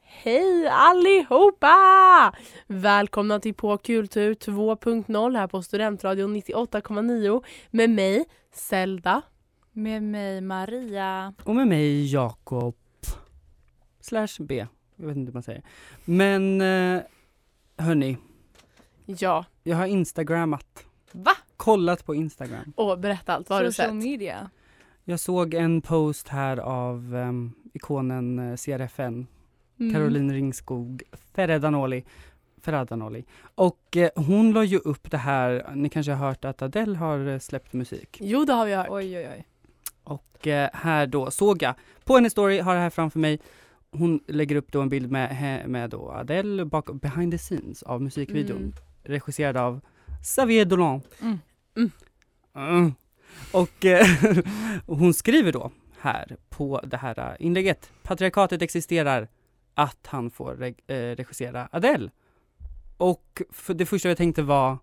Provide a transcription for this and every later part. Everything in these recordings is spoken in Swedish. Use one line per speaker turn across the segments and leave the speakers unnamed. Hej allihopa! Välkomna till På Kultur 2.0 här på Studentradion 98,9 med mig, Zelda.
Med mig Maria.
Och med mig Jakob. Slash B. Jag vet inte hur man säger. Men eh, hörni,
Ja.
jag har instagrammat.
Va?
Kollat på Instagram.
Åh, berätta allt. Vad har du
Social
sett?
media.
Jag såg en post här av ehm, ikonen eh, CRFN,
Mm.
Caroline Ringskog Ferredanoli. Ferredanoli. Och eh, hon la ju upp det här, ni kanske har hört att Adele har eh, släppt musik.
Jo, det har vi hört.
Oj oj oj.
Och eh, här då såg jag, på hennes story har det här framför mig, hon lägger upp då en bild med, he- med då Adele bak, behind the scenes av musikvideon,
Mm.
regisserad av Xavier Dolan.
Mm.
Mm.
Mm. Och eh, hon skriver då här på det här eh, inlägget, patriarkatet existerar, att han får reg- eh, regissera Adele. Och för det första jag tänkte var,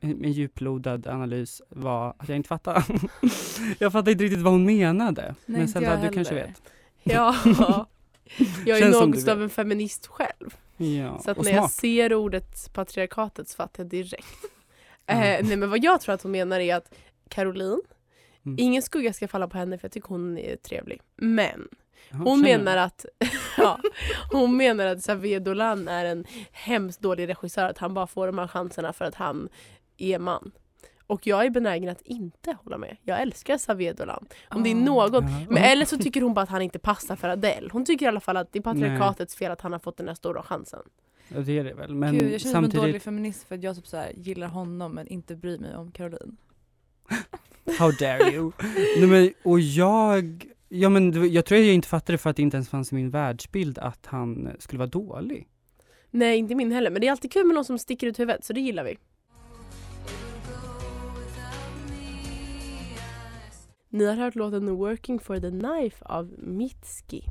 en en djuplodad analys var att jag inte fattar. jag fattar inte riktigt vad hon menade.
Nej,
Men
inte jag
Zelda, du
heller.
kanske vet.
Ja. Jag är
Känns som
något
du
av en feminist själv.
Ja,
så att
och
när jag
smak.
ser ordet patriarkatet så fattar jag direkt.
Mm.
Eh, nej men vad jag tror att hon menar är att Caroline,
Mm.
ingen skugga ska falla på henne för jag tycker hon är trevlig. Men
Jaha,
hon
känner
menar att ja, hon menar att Xavier Dolan är en hemskt dålig regissör. Att han bara får de här chanserna för att han är man. Och jag är benägen att inte hålla med. Jag älskar Xavier Dolan. Om det är
Ah.
någon
Jaha.
men, eller så tycker hon bara att han inte passar för Adele. Hon tycker i alla fall att det är patriarkatets fel att han har fått den här stora chansen.
Ja, det är det väl. Men
Ah. Gud jag känner mig som en
samtidigt,
dålig feminist för att jag typ så här, gillar honom men inte bryr mig om Caroline.
how dare you? Nej, men, och jag, ja, men, det var- jag tror jag inte fattade för att det inte ens fanns i min världsbild att han skulle vara dålig.
Nej, inte min heller. Men det är alltid kul med någon som sticker ut huvudet, så det gillar vi. Ni har hört låten Working for the Knife av Mitski.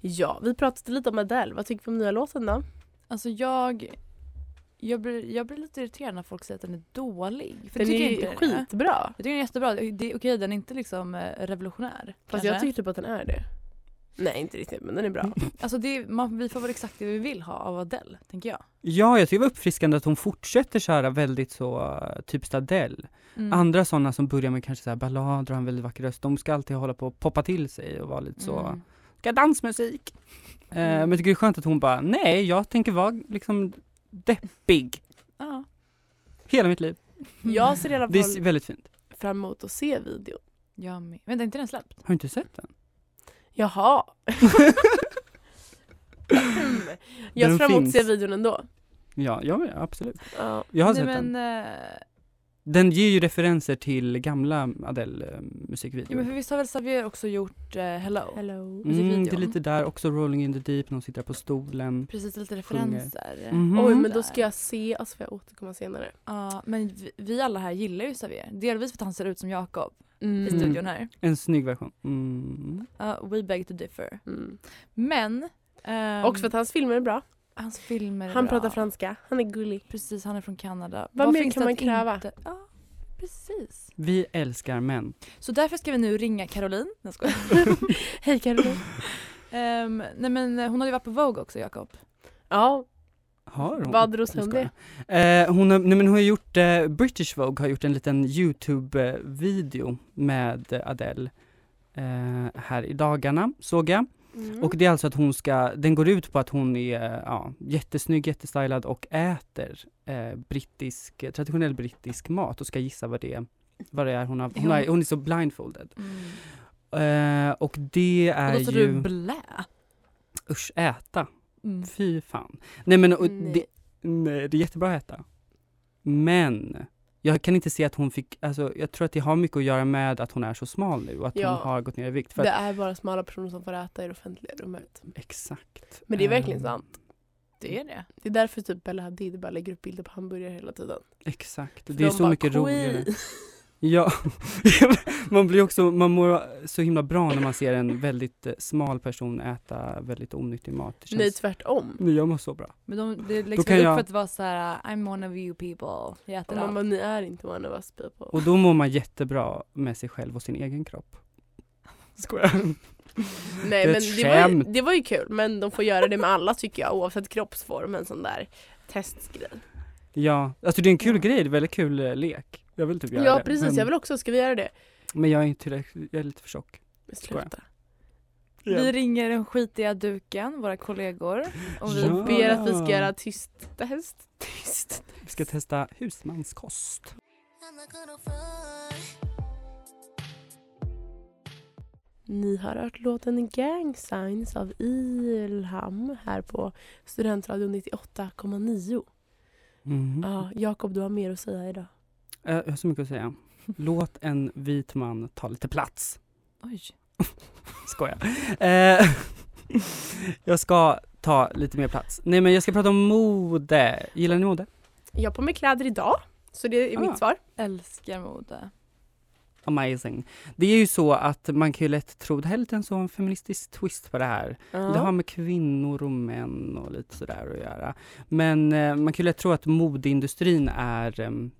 Ja, vi pratade lite om Adele. Vad tycker vi om nya låten då?
Alltså jag, jag, blir, jag blir lite irriterad när folk säger att den är dålig. För det
den
tycker
är
jag
ju
inte den är.
skitbra.
Jag tycker den är jättebra. Det, det, okej den är inte liksom eh, revolutionär.
Fast
kanske.
jag tycker typ att den är det. Nej, inte riktigt, men den är bra.
Alltså det, är- man, vi får väl exakt det vi vill ha av Adele, tänker jag.
Ja, jag tycker det var uppfriskande att hon fortsätter köra väldigt så, eh, typiskt Adele.
Mm.
Andra sådana som börjar med kanske så här ballader och en väldigt vacker röst, de ska alltid hålla på och poppa till sig och vara lite så,
Mm.
ska dansmusik. Eh,
Mm.
Men jag tycker det är skönt att hon bara, nej, jag tänker vara liksom deppig
Ja.
hela mitt liv.
Jag ser i alla
Det
fall
är väldigt fint.
fram emot att se videon.
Jag med. Vänta, inte den släppt?
Har du inte sett den?
Jaha. jag ser
Den
fram emot att
finns.
se videon ändå.
Ja, ja, ja, absolut.
Ja.
Jag har
Nej,
sett
men,
den.
eh,
Den ger ju referenser till gamla eh, Adele-musikvideor.
ja, men för visst har väl Xavier också gjort eh, Hello?
Hello.
mm, det är
musikvideon.
lite där också, Rolling in the deep, när hon sitter där på stolen.
Precis, lite
Sjunger.
referenser.
Mhm.
Oj,
Mm.
men då ska jag se, alltså får jag återkomma senare.
Ja, men vi, vi alla här gillar ju Xavier. Delvis för att han ser ut som Jakob i
Mm.
studion här.
En snygg version. Mm.
Ja, we beg to differ.
Mm.
Men... ehm,
Och för att hans filmer är bra.
hans filmer är
Han
bra.
pratar franska, han är gullig.
Precis, han är från Kanada.
Vad mer
finns
kan
det
man
att
kräva?
Inte... Ja, precis.
Vi älskar män.
Så därför ska vi nu ringa Caroline. Jag skojar.
Hej Caroline.
Ehm, nej men hon har ju varit på Vogue också Jakob.
Ja,
Har hon?
Vad drogs om det?
Eh, hon, har, nej, men hon har gjort, eh, British Vogue har gjort en liten YouTube-video med eh, Adele eh, här i dagarna, såg jag.
Mm.
Och det är alltså att hon ska, den går ut på att hon är eh, ja, jättesnygg, jättestylad och äter eh, brittisk, traditionell brittisk mat och ska gissa vad det, vad det är hon har, hon, har, hon är så blindfolded.
Mm.
Eh, och det
Och
är
då sa
ju,
Alltså, du blä.
usch äta,
Mm.
fy fan. Nej men och,
Mm, Nej.
Det, nej, det är jättebra att äta. Men jag kan inte se att hon fick, alltså jag tror att det har mycket att göra med att hon är så smal nu och att
Ja.
hon har gått ner i vikt. För
Det
att,
är bara smala personer som får äta i det offentliga rummet.
exakt.
Men det är
Eh,
verkligen sant.
Det är det.
Det är därför typ Bella Hadid bara lägger upp bilder på hamburgare hela tiden.
Exakt,
För
det är
de
så
bara,
mycket
"Queen."
roligare. Ja, man blir också, man mår så himla bra när man ser en väldigt eh, smal person äta väldigt onyttig mat. Det
Nej,
känns,
tvärtom.
nej, jag mår så bra.
Men de, det läggs
kan
väl upp
jag-
för att vara så här: I'm one of you people. Jag
Och
äter
man
allt.
bara, ni är inte one of us people.
Och då mår man jättebra med sig själv och sin egen kropp. Skojar.
Nej
det är
men
ett
det var, ju,
skämt.
det var ju kul, men de får göra det med alla tycker jag oavsett kroppsform, en sån där testgrej.
Ja, alltså det är en kul grej, det är en väldigt kul eh, lek. Jag vill typ göra
Ja
det.
precis,
men,
jag vill också, ska vi göra det?
men jag är inte tillräckligt, jag är lite för tjock.
Men sluta.
Vi ringer den skitiga duken, våra kollegor. Och vi
Ja.
Ber att vi ska göra tyst test. Tyst.
Vi ska testa husmanskost.
Ni har hört låten Gang Signs av Ilham här på Studentradion 98,9.
Mm. Mhm.
Ja, Jakob, du har mer att säga idag.
Eh, Jag har så mycket att säga. Låt en vit man ta lite plats.
Oj.
Skojar. Eh, jag ska ta lite mer plats. Nej men jag ska prata om mode. Gillar ni mode?
Jag har på mig kläder idag, så det är
Ah.
mitt svar.
Älskar mode.
Amazing. Det är ju så att man kan ju lätt tro, det här är lite en sån feministisk twist på det här. Det har med kvinnor och män och lite sådär att göra. Men eh, man kan ju lätt tro att modeindustrin är em,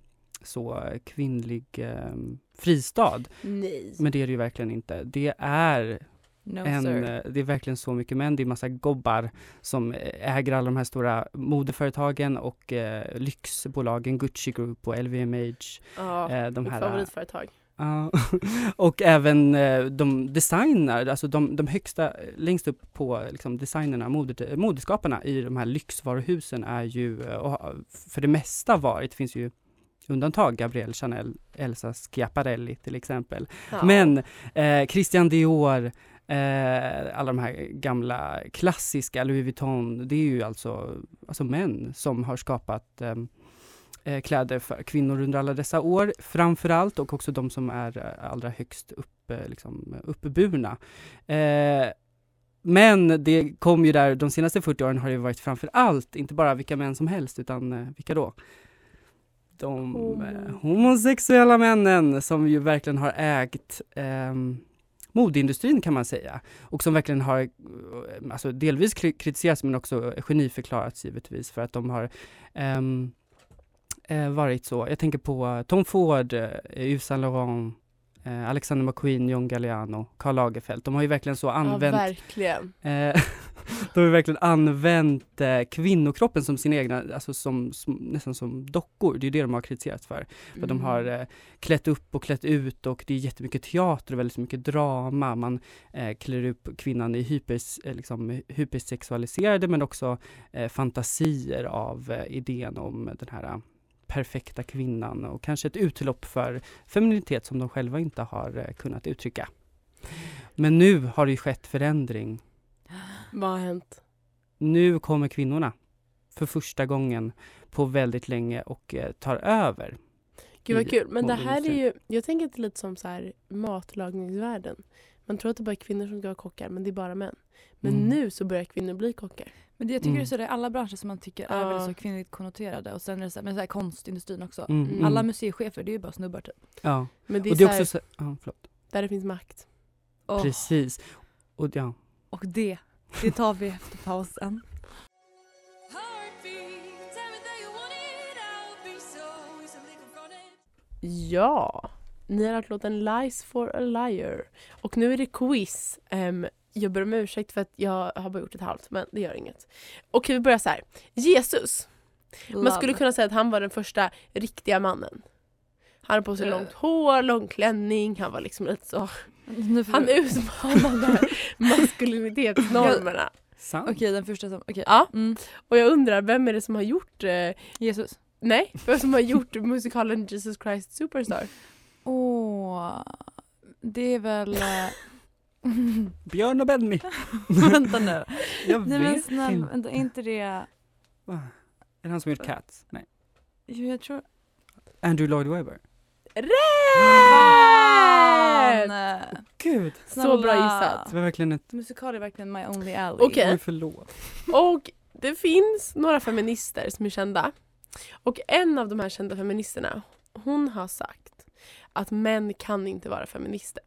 så kvinnlig em, fristad.
Nej.
Men det är det ju verkligen inte. Det är
No
en,
sir.
eh, det är verkligen så mycket män, det är massa gobbar som eh, äger alla de här stora modeföretagen och eh, lyxbolagen Gucci Group och LVMH.
Ja,
eh, de
mitt
här,
favoritföretag.
Ja. och även eh, de designar, alltså de, de högsta, längst upp på liksom, designerna, modet- modeskaparna i de här lyxvaruhusen är ju, eh, och har för det mesta varit, det finns ju undantag, Gabrielle Chanel, Elsa Schiaparelli till exempel,
Ja.
men eh, Christian Dior, eh, alla de här gamla klassiska Louis Vuitton, det är ju alltså, alltså män som har skapat ehm, eh, kläder för kvinnor under alla dessa år, framför allt, och också de som är eh, allra högst upp, eh, liksom, uppburna. Eh, men det kom ju där, de senaste 40 åren har det ju varit framför allt, inte bara vilka män som helst, utan eh, vilka då? De
Homo.
eh, homosexuella männen som ju verkligen har ägt ehm, modeindustrin kan man säga. Och som verkligen har, eh, alltså delvis kri- kritiserats men också geniförklarats givetvis för att de har ehm, eh, varit så. Jag tänker på eh, Tom Ford, eh, Yves Saint Laurent, eh, Alexander McQueen, John Galliano, Karl Lagerfeld. De har ju verkligen så använt
Ja, verkligen.
Eh, De har ju verkligen använt eh, kvinnokroppen som sina egna, alltså som, som, nästan som dockor. Det är ju det de har kritiserats för. För att de har
Mm.
eh, klätt upp och klätt ut och det är jättemycket teater och väldigt mycket drama. Man eh, klär upp kvinnan i hypers, eh, liksom, hypersexualiserade men också eh, fantasier av eh, idén om den här eh, perfekta kvinnan och kanske ett utlopp för femininitet som de själva inte har eh, kunnat uttrycka. Men nu har det ju skett förändring
Vad har hänt?
nu kommer kvinnorna för första gången på väldigt länge och eh, tar över.
Gud
i
vad kul. Men det här är
modeindustrin.
ju, jag tänker att det är lite som så här matlagningsvärlden. Man tror att det bara är kvinnor som ska vara kockar, men det är bara män. Men
Mm.
nu så börjar kvinnor bli kockar.
Men det jag tycker
Mm.
det är så det är alla branscher som man tycker är
Ja.
väldigt så kvinnligt konnoterade. Och sen är det så här, men så här konstindustrin också.
Mm,
Mm.
mm.
Alla museichefer det är ju bara snubbar typ.
ja.
Men det är,
Och det är
så här,
också så, ja, förlåt.
där det finns makt.
Åh,
Precis. Och ja,
Och det, det tar vi efter pausen.
Ja, ni har hört låten Lies for a liar. Och nu är det quiz. Ehm, Jag ber om ursäkt för att jag har bara gjort ett halvt, men det gör inget. Okej, vi börjar så här. Jesus. Man skulle kunna säga att han var den första riktiga mannen. Han hade på sig
Eh.
långt hår, lång klänning, han var liksom lite så.
Nu får
Han
du-
utmanade maskulinitetsnormerna.
Sant.
Okej, den första som... Okej.
Ja,
Mm.
och jag undrar, vem är det som har gjort, eh,
Jesus.
nej, vem som har gjort musikalen Jesus Christ Superstar?
Åh. Det är väl... eh,
Björn och Benny.
vänta nu.
Jag
Nej men
vet
snälla,
inte.
vänta, är inte det...
Är det han som gjort Cats? Nej.
Jo, jag tror...
Andrew Lloyd Webber.
Rätt!
Fan!
Gud,
Så bra
Snälla.
gissat.
det var verkligen ett...
Musikal är verkligen my only alley. Mm.
Okej. Mm.
Oj, förlåt.
Och det finns några feminister som är kända. Och en av de här kända feministerna, hon har sagt att män kan inte vara feminister.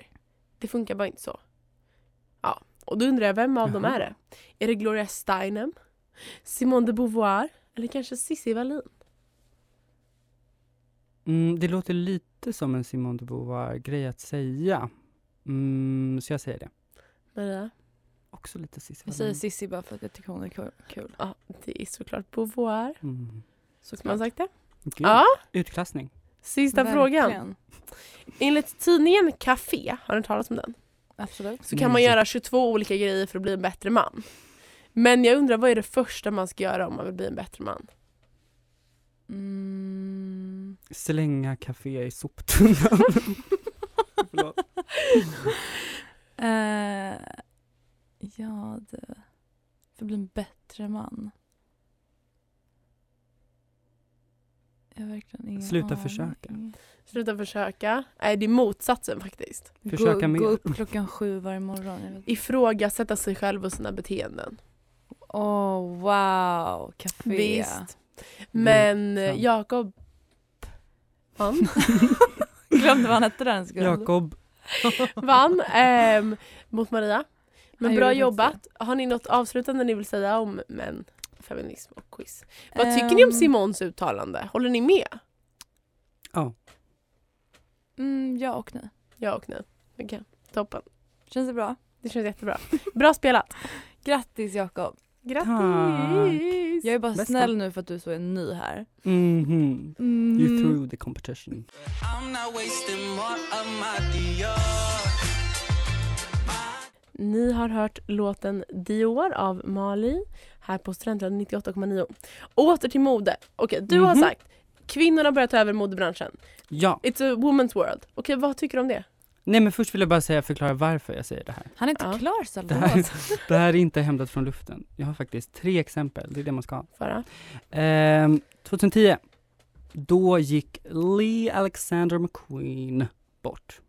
Det funkar bara inte så. Ja, och då undrar jag, vem av dem
Jaha.
är det? Är det Gloria Steinem? Simone de Beauvoir? Eller kanske Cissi Wallin?
Mm, det låter lite som en Simone de Beauvoir-grej att säga. Mm, så jag säger det.
Maria?
Också lite Cissi
Jag säger
Wallin.
Cissi bara för att jag tycker hon är kul. kul.
Ja, det är såklart Beauvoir.
Mm.
Som har sagt det.
Gud,
Ja,
Utklassning.
sista frågan.
Verkligen.
Enligt tidningen Café, har ni hört talas om den?
Absolut.
så kan man
Nej.
göra 22 olika grejer för att bli en bättre man. Men jag undrar vad är det första man ska göra om man vill bli en bättre man?
Mm.
Slänga café i soptunnan. Förlåt.
Eh, ja, det... För att bli en bättre man. Jag har verkligen ingen
Sluta
aning.
försöka.
Sluta försöka. Nej, det är motsatsen faktiskt.
Försöka
gå,
mer.
gå upp klockan sju varje morgon. Jag vet.
Ifrågasätta sig själv och sina beteenden.
Oh, wow, café. Mm.
Visst. Men eh,
sant.
Jakob... Vann.
Glömde vad han hette där en sekund.
Jakob.
Vann ehm, mot Maria. Men
Han
bra
gjorde
jobbat. Har ni något avslutande ni vill säga om män, feminism och quiz? Vad tycker ni om
Ehm,
Simons uttalande? Håller ni med?
Mm, ja och nej.
Ja och nej. Okej, toppen.
Känns det bra?
Det känns jättebra. Bra spelat.
Grattis Jakob.
Grattis!
Jag är bara
Bästa.
snäll nu för att du så är ny här.
Mhm.
Mm.
You threw the competition.
Ni har hört låten Dior av Mali här på Studentradion 98,9. Åter till mode. Okej, du har
Mhm.
sagt kvinnorna börjar ta över modebranschen.
Ja.
It's a woman's world. Okej, vad tycker du om det?
Nej men först vill jag bara säga förklara varför jag säger det här.
Han är inte
Ja.
klar
Det här,
Salvador.
är- det här är inte hämtat från luften. Jag har faktiskt tre exempel, det är det man ska ha.
Farah?
Ehm, 2010, då gick Lee Alexander McQueen bort.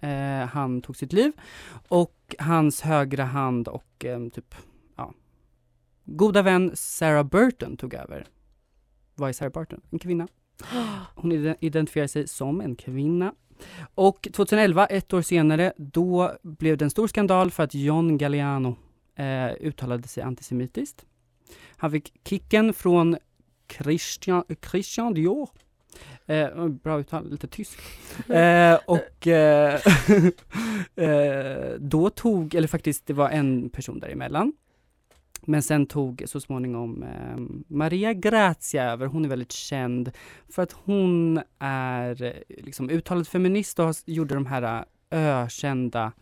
Eh, han tog sitt liv och hans högra hand och ehm, typ, ja, goda vän Sarah Burton tog över. Vad är Sarah Burton? En kvinna. Hon ide- identifierar sig som en kvinna. Och 2011, ett år senare, då blev det en stor skandal för att John Galliano eh, uttalade sig antisemitiskt. Han fick kicken från Christian, Christian Dior. Eh, bra uttal, lite tysk. Eh, och eh, eh, då tog, eller faktiskt det var en person däremellan. Men sen tog så småningom eh, Maria Grazia över. Hon är väldigt känd för att hon är eh, liksom uttalad feminist och har, gjorde de här eh, ökända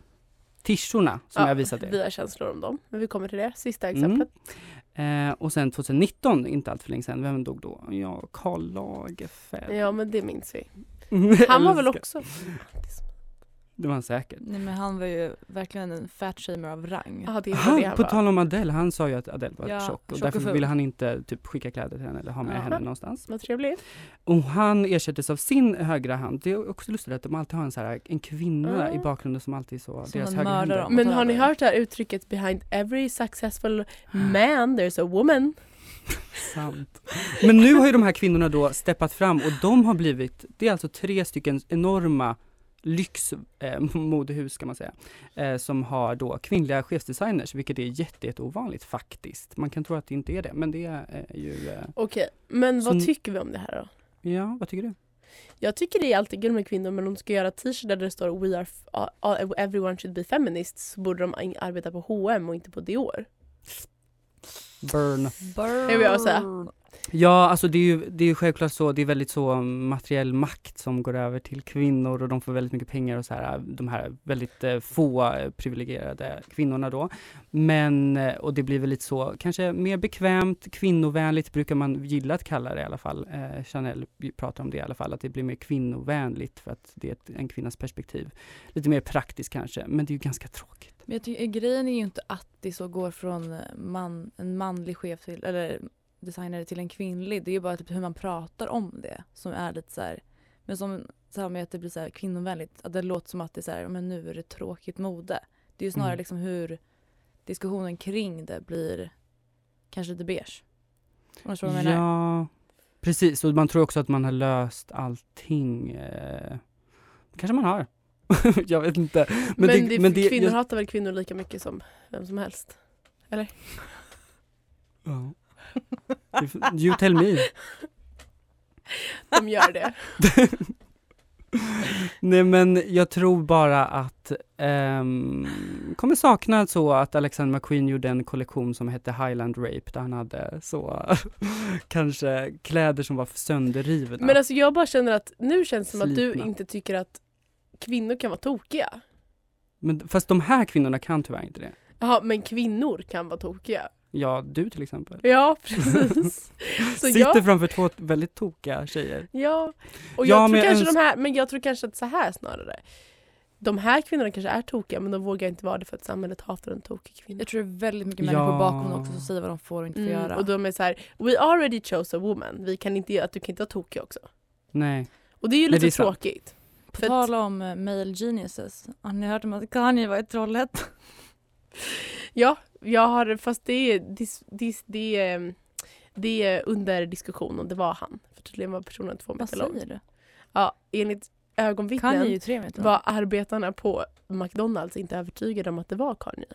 tischerna som
Ja,
jag visade er.
Vi har känslor om dem, men vi kommer till det. Sista
Mm.
exemplet.
Eh, och sen 2019, inte allt för länge sedan, vem dog då? Ja, Karl Lagerfeld.
Ja, men det minns vi. Han var väl
Älskar.
också...
Det var han säkert.
Nej men han var ju verkligen en fat shamer av rang.
Ja, det var det
Han,
han
på
var.
tal om Adele, han sa ju att Adele var
Ja,
tjock och
tjock och
därför
ful.
ville han inte typ skicka kläder till henne eller ha med
Ja.
henne någonstans.
Vad trevligt.
Och han ersattes av sin högra hand. Det är också lustigt att de alltid har en, så här, en kvinna
Ah.
i bakgrunden som alltid är så,
Som
deras
de
högra
mördar
händer.
dem.
Men
tar
har ni
över.
hört det här uttrycket behind every successful
Mm.
man there's a woman?
Sant. Men nu har ju de här kvinnorna då steppat fram och de har blivit, det är alltså tre stycken enorma lyxmodehus eh, modehus kan man säga, eh, som har då kvinnliga chefsdesigners, vilket är jätte, jätte ovanligt faktiskt. Man kan tro att det inte är det, men det är eh, ju, eh,
Okej, men
Så
vad
ni-
tycker vi om det här då?
ja vad tycker du?
Jag tycker det är alltid kul med kvinnor men om de ska göra t-shirt där det står We are f- a- a- everyone should be feminist så borde de in- arbeta på H&M och inte på Dior.
Burn.
Burn.
Det vill jag säga.
Ja, alltså det är ju, det är ju självklart så, det är väldigt så materiell makt som går över till kvinnor och de får väldigt mycket pengar och så här, de här väldigt eh, få eh, privilegierade kvinnorna då. Men, eh, och det blir väl lite så, kanske mer bekvämt, kvinnovänligt brukar man gilla att kalla det i alla fall. Eh, Chanel pratar om det i alla fall, att det blir mer kvinnovänligt för att det är ett, en kvinnas perspektiv. Lite mer praktiskt kanske, men det är ju ganska tråkigt.
Men jag tycker, grejen är ju inte att det så går från man, en manlig chef till, eller designare till en kvinnlig. Det är ju bara typ hur man pratar om det som är lite så här, men som så här med att det blir så här kvinnovänligt, att det låter som att det är så här, men nu är det tråkigt mode. Det är ju snarare
Mm.
liksom hur diskussionen kring det blir kanske lite beige. Om du förstår vad jag menar?
Ja, precis. Och man tror också att man har löst allting. Eh, kanske man har. jag vet inte.
Men,
det-
det,
men det-
kvinnor
jag-
hatar väl kvinnor lika mycket som vem som helst?
Ja. You tell me.
De gör det.
Nej men jag tror bara att ehm, kommer sakna så att Alexander McQueen gjorde en kollektion som hette Highland Rape där han hade så kanske kläder som var sönderrivna.
Men alltså jag bara känner att nu känns det som att du
Slitna.
inte tycker att kvinnor kan vara tokiga.
men, fast de här kvinnorna kan tyvärr inte det.
Jaha, men kvinnor kan vara tokiga.
Ja, du till exempel.
Ja, precis. Så
Sitter
jag,
framför två väldigt tokiga tjejer.
ja. Och
Ja,
jag
men
tror
jag
kanske
öns-
de här, men jag tror kanske att så här snarare. De här kvinnorna kanske är tokiga men de vågar inte vara det för att samhället hatar en tokig kvinna.
Jag tror det är väldigt mycket
Ja.
människor bakom också som säger vad de får och inte får göra.
Mm, Och de är så här, we already chose a woman, vi kan inte, att du kan inte vara tokig också.
Nej.
Och det är ju
Nej,
lite
det är sant.
tråkigt.
På
För att-
tal om eh, male geniuses, har ni hört om att Kanye var i Trollhättan?
Ja, jag har, fast det är, dis, dis, det, är, det är under diskussion om det var han. För tydligen var personen två
Vad
meter lång.
säger du?
Ja, enligt
Kanye är
ögonvittnen
ju tre meter lång.
var arbetarna på McDonalds inte övertygade om att det var Kanye.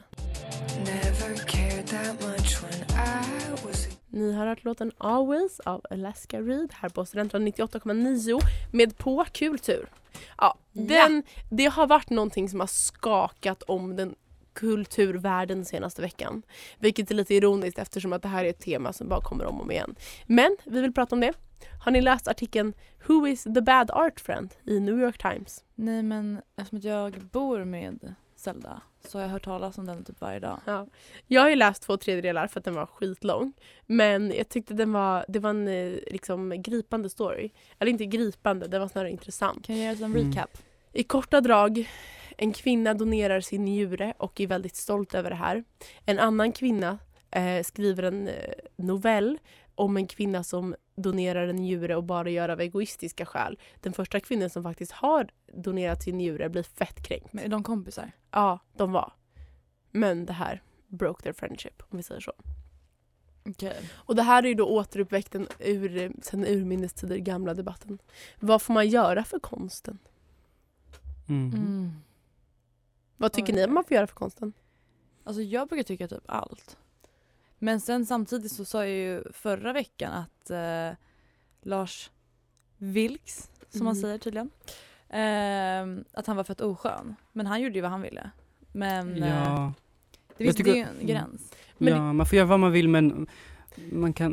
Never cared that much when I was a
Ni har hört låten Always av Alaska Reed här på Studentrad 98,9 med på kultur. Ja,
Ja.
den, det har varit någonting som har skakat om den kulturvärlden senaste veckan. Vilket är lite ironiskt eftersom att det här är ett tema som bara kommer om och om igen. Men vi vill prata om det. Har ni läst artikeln Who is the bad art friend i New York Times?
Nej men eftersom att jag bor med Zelda så har jag hört talas om den typ varje dag.
Ja. Jag har ju läst två tredjedelar för att den var skitlång. Men jag tyckte den var, det var en eh, liksom, gripande story. Eller inte gripande, den var snarare intressant.
Kan jag göra en sån
Mm.
recap?
I korta drag, en kvinna donerar sin njure och är väldigt stolt över det här. En annan kvinna eh, skriver en eh, novell om en kvinna som donerar en njure och bara gör av egoistiska skäl. Den första kvinnan som faktiskt har donerat sin njure blir fett kränkt.
Men är de kompisar?
Ja, de var. Men det här broke their friendship, om vi säger så.
Okej.
Och det här är ju då återuppväckt en ur, sen urminnes tider gamla debatten. Vad får man göra för konsten?
Mm.
Mm.
Vad tycker
Oj.
ni att man får göra för konsten?
Alltså jag brukar tycka typ allt. Men sen samtidigt så sa jag ju förra veckan att eh, Lars Vilks, som han
Mm.
säger tydligen, eh, att han var fett oskön. Men han gjorde ju vad han ville. Men eh,
Ja.
det,
Jag
visst,
tycker-
det är
Mm.
ju en gräns.
Men
ja, man får göra vad man vill men man kan,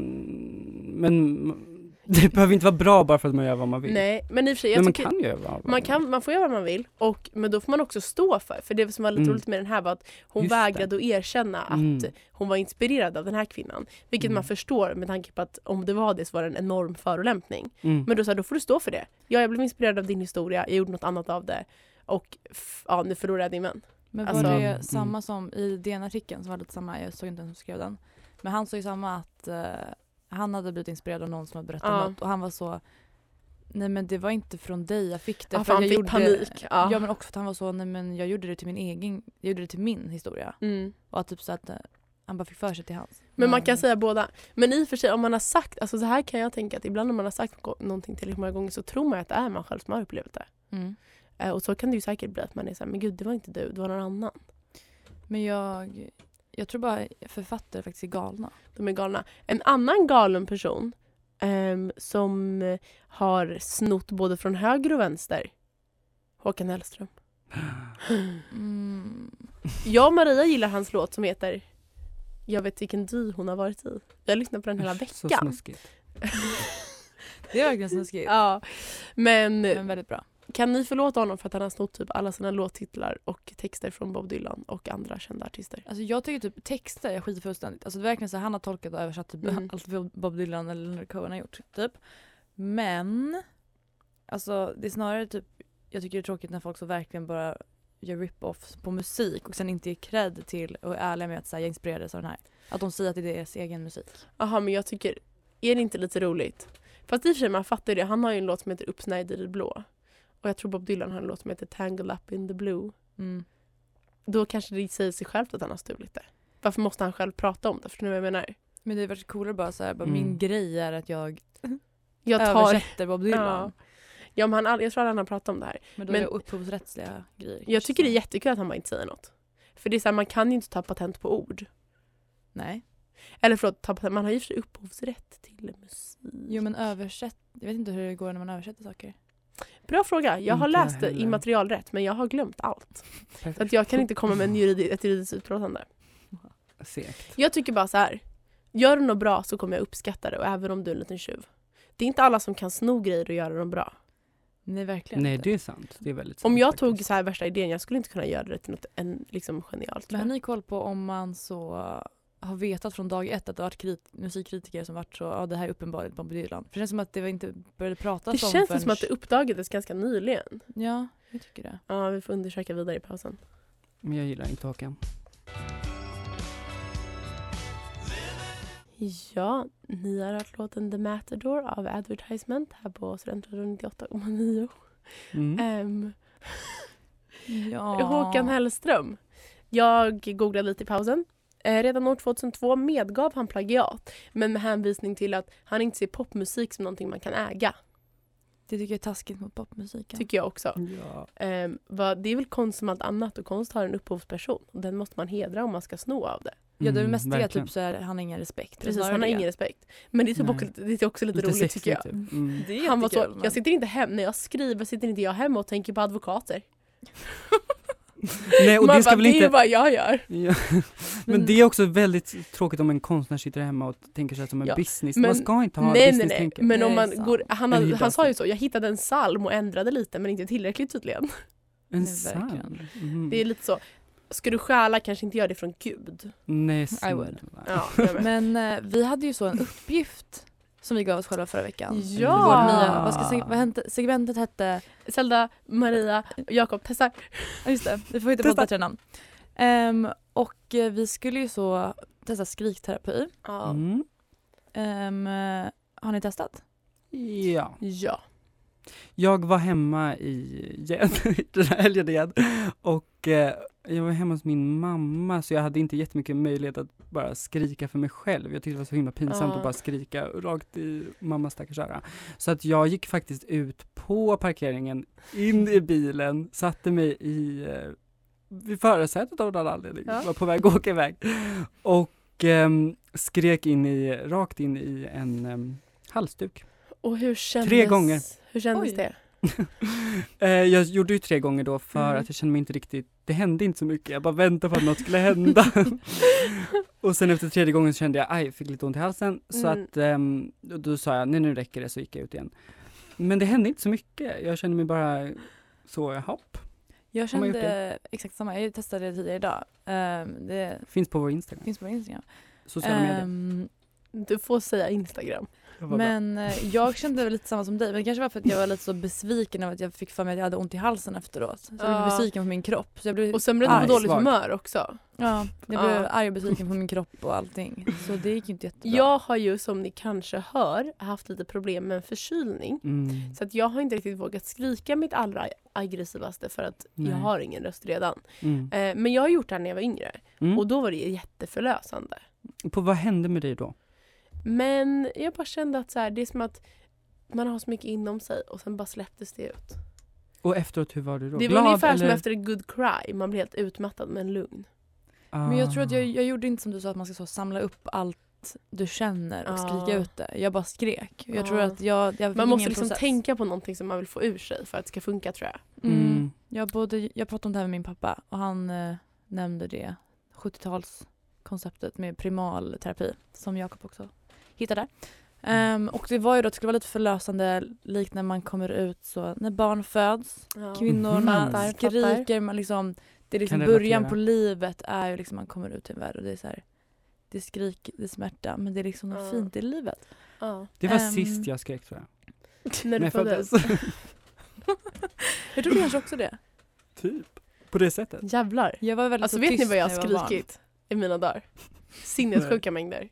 men det behöver inte vara bra bara för att man gör vad man vill.
Nej, men i och för sig, jag
men man
tycker
kan göra vad man vill.
man, kan, man får göra vad man vill, och, men då får man också stå för. För det som var lite
Mm.
roligt med den här var att hon
Just det.
vägrade att erkänna att
Mm.
hon var inspirerad av den här kvinnan. Vilket
Mm.
man förstår med tanke på att om det var det så var det en enorm förolämpning.
Mm.
Men då sa jag, då får du stå för det. Ja, jag blev inspirerad av din historia, jag gjorde något annat av det. Och f- ja, nu förlorade jag din vän.
Men
Alltså-
var det
Mm,
samma
mm.
som i DN-artikeln som var lite samma, jag såg inte vem som skrev den. Men han sa ju samma att eh, han hade blivit inspirerad av någon som hade berättat
Ja.
något och han var så Nej men det var inte från dig jag fick det.
Ja,
för
för han
jag
fick panik.
Ja.
Ja.
men också för att han var så, nej men jag gjorde det till min egen, jag gjorde det till min historia.
Mm.
Och att typ så att eh, han bara fick för sig till hans.
Men man kan säga båda. Men i och för sig om man har sagt, alltså så här kan jag tänka att ibland om man har sagt go- någonting tillräckligt många gånger så tror man att det är man själv som har upplevt det.
Mm.
Eh, och så kan det ju säkert bli att man är såhär, men gud det var inte du, det var någon annan.
Men jag, jag tror bara författare faktiskt är galna.
De är galna. En annan galen person ehm, som har snott både från höger och vänster. Håkan Hellström.
Mm.
Jag och Maria gillar hans låt som heter Jag vet vilken dy hon har varit i. Jag lyssnar på den hela
Så
veckan.
snuskigt.
Det är verkligen snuskigt.
ja. Men
Men väldigt bra.
Kan ni förlåta honom för att han har snott typ alla sina låttitlar och texter från Bob Dylan och andra kända artister?
Alltså jag tycker typ texter är skitfullständigt. Alltså det är verkligen så här, han har tolkat och översatt typ
Mm.
allt vad Bob Dylan eller Leonard Cohen har gjort. Typ. Men, alltså det är snarare typ, jag tycker det är tråkigt när folk så verkligen bara gör rip-offs på musik och sen inte ger cred till och är ärliga med att säga jag inspirerades av den här. Att de säger att det är deras egen musik.
Jaha, men jag tycker, är det inte lite roligt? Fast i och för sig, man fattar ju det. Han har ju en låt som heter Uppsnärjd i det blå. Och jag tror Bob Dylan har en låt som heter Tangled up in the blue.
Mm.
Då kanske det säger sig självt att han har stulit det. Varför måste han själv prata om det? Förstår ni vad jag menar?
Men det är varit coolare bara så här, bara,
Mm.
min grej är att jag,
Jag tar...
översätter Bob Dylan.
Ja, men han, all- jag tror aldrig han har pratat om det här.
Men då
Men-
är det upphovsrättsliga grejer.
Jag
kanske,
tycker det är
så.
jättekul att han bara inte säger något. För det är så här, man kan ju inte ta patent på ord.
Nej.
Eller förlåt, ta patent, man har ju i och för sig upphovsrätt till musik.
Jo men översätt, jag vet inte hur det går när man översätter saker.
Bra fråga. Jag har
Inte jag
läst det
heller.
immaterialrätt men jag har glömt allt. Så att
Perfekt.
jag kan inte komma med en juridi- ett juridiskt utlåtande.
Segt.
Jag tycker bara så här. Gör du något bra så kommer jag uppskatta det och även om du är en liten tjuv. Det är inte alla som kan sno grejer och göra dem bra.
Nej verkligen
Nej,
inte.
det är sant. Det är väldigt sant
Om jag
faktiskt.
tog så här värsta idén, jag skulle inte kunna göra det till något en, liksom genialt.
Men har
tror jag.
ni koll på om man så eh, har vetat från dag ett att det har varit krit- musikkritiker som varit så, ja det här är uppenbarligen Bob Dylan. För det känns som att det var inte började pratas
Det
om
känns
förrän-
som att det uppdagades ganska nyligen.
Ja, jag tycker det.
Ja, vi får undersöka vidare i pausen.
Men jag gillar inte Håkan.
Ja, ni har hört låten The Matador av Advertisement här på Studentradion 98,9.
Mm.
Ehm,
Ja.
Håkan Hellström. Jag googlade lite i pausen. Eh, redan år 2002 medgav han plagiat men med hänvisning till att han inte ser popmusik som någonting man kan äga.
Det tycker jag är taskigt mot popmusiken.
Tycker jag också.
Ja.
Eh, vad, det är väl konst som allt annat och konst har en upphovsperson. Och den måste man hedra om man ska sno av det.
ja det är
Mm,
mest det
verkligen.
typ så här, han har ingen respekt.
Precis,
Snarare
han har
det.
ingen respekt. Men det är, typ
Nej.
också, det är också lite,
Lite
roligt tycker
sexigt
jag.
typ. Mm.
Det är
Han var så,
jättekul, men-
jag sitter inte hem, när jag skriver sitter inte jag hemma och tänker på advokater.
Nej, och
man
det ska
bara,
väl
det är ju
inte...
vad jag gör.
Ja. Men det är också väldigt tråkigt om en konstnär sitter hemma och tänker sig som en
Ja,
business.
men-
Man ska inte ha
Nej, nej, nej.
business-tänket.
Men om
Nej,
man
sant.
går, han,
Eller
hade,
hur
han sa ju
dansar.
så, jag hittade en psalm och ändrade lite men inte tillräckligt tydligen.
Mm. En
Nej, verkligen.
psalm. Mm.
Det är lite så, ska du stjäla kanske inte gör det från Gud.
Nej,
I would.
snälla.
Ja, jag med.
Men eh, vi hade ju så en uppgift som vi gav oss själva förra veckan.
Ja!
Vår nya, vad ska, seg- vad hette, segmentet hette
Zelda, Maria, Jakob testar.
Ja just det, vi får hitta på ett
Testa.
bättre namn. Ehm, och eh, vi skulle ju så testa skrikterapi.
Mm.
Ehm, eh, har ni testat?
Ja.
Ja.
Jag var hemma i igen, den här helgen igen och eh, jag var hemma hos min mamma så jag hade inte jättemycket möjlighet att bara skrika för mig själv. Jag tyckte det var så himla pinsamt
Ja.
att bara skrika rakt i mammas stackars öra. Så att jag gick faktiskt ut på parkeringen, in i bilen, satte mig i eh, vid förarsätet av någon anledning,
Ja.
var på väg att åka iväg och ehm, skrek in i, rakt in i en ehm, halsduk.
Och hur kändes,
Tre gånger.
Hur kändes
Oj.
det?
Eh, jag gjorde ju tre gånger då för
Mm.
att jag kände mig inte riktigt, det hände inte så mycket, jag bara väntade på att något skulle hända. och sen efter tredje gången så kände jag, aj, fick lite ont i halsen. Så
Mm.
att ehm, då, då sa jag, nej nu räcker det, så gick jag ut igen. Men det hände inte så mycket, jag kände mig bara så, jaha,
Jag
Har man gjort
kände exakt samma, jag testade det tidigare idag. Ehm, det
finns på vår Instagram,
finns på min Instagram.
sociala medier.
Ehm,
Du får säga Instagram.
Jag var bra.
men eh, jag kände väl lite samma som dig, men det kanske var för att jag var lite så besviken över att jag fick för mig att jag hade ont i halsen efteråt. Så jag
Ja.
blev besviken på min kropp. Så jag blev,
Och sen blev du på
Aj,
dåligt
svag.
humör också.
ja, jag
Ja.
blev arg och besviken på min kropp och allting. Så det gick ju inte jättebra.
Jag har ju som ni kanske hör haft lite problem med en förkylning.
Mm.
Så att jag har inte riktigt vågat skrika mitt allra aggressivaste för att
Nej.
jag har ingen röst redan.
Mm.
Eh, men jag har gjort det här när jag var yngre
Mm.
och då var det jätteförlösande.
På vad hände med dig då?
Men jag bara kände att så här, det är som att man har så mycket inom sig och sen bara släpptes det ut.
Och efteråt, hur var du då?
Det var
Glad,
ungefär som
eller?
efter ett good cry, man blir helt utmattad men lugn. Ah.
Men jag tror att jag, jag gjorde inte som du sa att man ska så samla upp allt allt du känner och skrika
Ja.
ut det. Jag bara skrek. Jag tror
Ja.
att jag, jag fick
Ah. Man måste
ingen
liksom
process.
tänka på någonting som man vill få ur sig för att det ska funka tror jag.
Mm.
Mm.
Jag, både, jag pratade om det här med min pappa och han eh, nämnde det 70-talskonceptet med primalterapi som Jakob också hittade.
Mm.
Ehm, och det var ju då att det skulle vara lite förlösande likt när man kommer ut så när barn föds, kvinnorna
Mhm. Fattar,
fattar.
skriker, man liksom, det är liksom
Kan relatera.
början på livet är ju liksom man kommer ut till en värld och det är så här det är skrik, det är smärta men det är liksom något
Ja.
fint i livet.
Ja.
Det var
Ehm.
sist jag skrek tror jag.
När du
jag
föddes.
Jag tror kanske också det.
typ. På det sättet.
Jävlar.
Jag var väldigt
Alltså
så
vet ni
tyst
vad jag
när
har
var barn.
skrikit i mina dagar? Sinnessjuka mängder.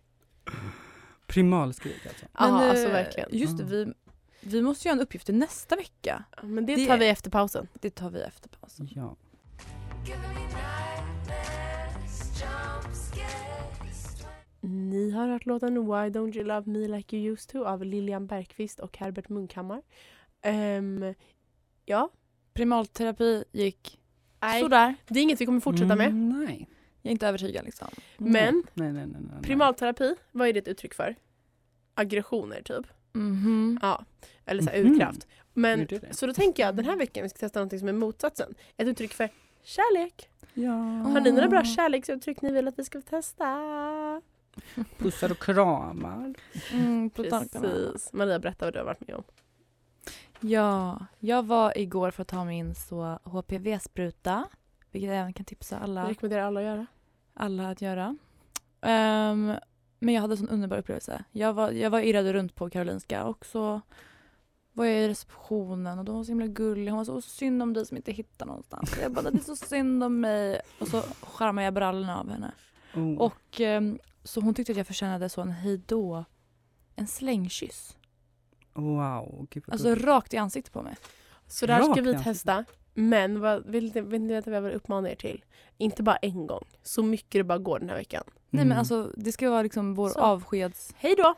Primalskrik alltså.
Ja,
eh,
alltså verkligen.
Just det,
Mm.
vi, vi måste göra en uppgift till nästa vecka.
Men det
det-
tar vi efter pausen.
Det tar vi efter pausen.
Ja.
Ni har hört låten Why Don't You Love Me Like You Used To av Lilian Bergqvist och Herbert Munkhammar. Ehm, ja,
Primalterapi gick
nej,
sådär.
det är inget vi kommer fortsätta med. Mm.
Mm, nej.
Jag är inte övertygad liksom.
Men
Nej, nej, nej, nej, nej.
primalterapi, vad är det ett uttryck för? Aggressioner typ.
Mhm.
Ja, eller så här
Mhm.
urkraft. Men,
Gjorde det?
så då tänker jag att den här veckan vi ska testa något som är motsatsen. Ett uttryck för kärlek.
Ja.
Har ni några
Ah.
bra
Mm.
kärleksuttryck ni vill att vi ska testa?
Pussar och kramar.
Mm, på tankarna.
Precis. Maria, berätta vad du har varit med om.
Ja, jag var igår för att ta min så HPV-spruta, vilket jag även kan tipsa alla
Jag rekommenderar alla att göra.
alla att göra. Ehm, men jag hade en sån underbar upplevelse. Jag var, jag var irrade runt på Karolinska och så var jag i receptionen och de var så himla gulliga. Hon var så "Åh, synd om dig som inte hittar någonstans. Jag bara, det är så synd om mig. Och så charmade jag brallorna av henne.
Oh.
Och ehm, så hon tyckte att jag förtjänade så en hejdå, en slängkyss.
Wow, gud vad
Alltså
gulligt.
rakt i ansiktet på mig.
Så det här ska
Rakt i
vi
ansiktet.
testa. Men vad, vill, ni- vill ni veta vad jag vill uppmana er till? Inte bara en gång. Så mycket det bara går den här veckan.
Nej men
Mm.
alltså det ska vara liksom vår
Så.
avskedsgest
Hej då!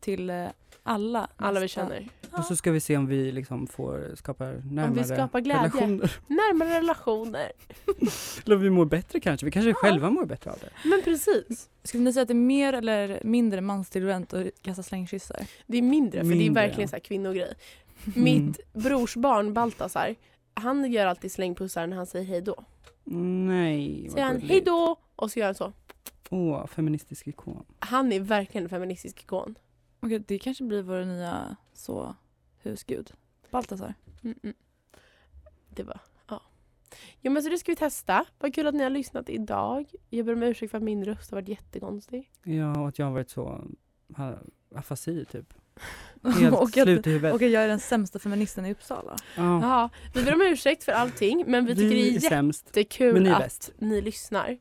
till eh, alla.
Alla vi
nästa-
känner.
Och så ska vi se om vi liksom får skapar närmare
skapar glädje.
relationer.
Närmare relationer.
Eller om vi mår bättre kanske. Vi kanske själva mår bättre av det.
Men precis.
Skulle ni säga att det är mer eller mindre manstillvänt att kasta slängkyssar?
Det är mindre, för det
Mindre,
är verkligen
ja.
så här kvinnogrej.
Mm.
Mitt brorsbarn Baltasar, han gör alltid slängpussar när han säger hej då.
Nej,
Säger han
gulligt.
hej då och så gör han så.
Åh, feministisk ikon.
Han är verkligen en feministisk ikon.
Okej, det kanske blir vår nya så husgud. Baltasar.
Mm, mm. Det var, ja. Jo men så det ska vi testa. Vad kul att ni har lyssnat idag. Jag ber om ursäkt för att min röst har varit jättekonstig.
Ja, och att jag har varit så ha, afasi typ. Helt
och att,
slut i huvudet.
och att jag är den sämsta feministen i Uppsala.
ja.
Ja, vi ber om ursäkt för allting men vi tycker det är
sämst.
jättekul
Men ni är
att
bäst.
ni lyssnar.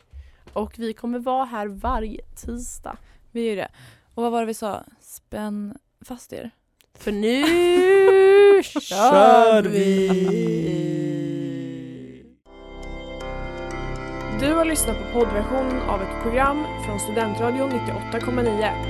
Och vi kommer vara här varje tisdag.
Vi är ju det. Och vad var det vi sa? Spänn fast er.
För nu kör vi!
Du har lyssnat på poddversionen av ett program från Studentradion 98,9.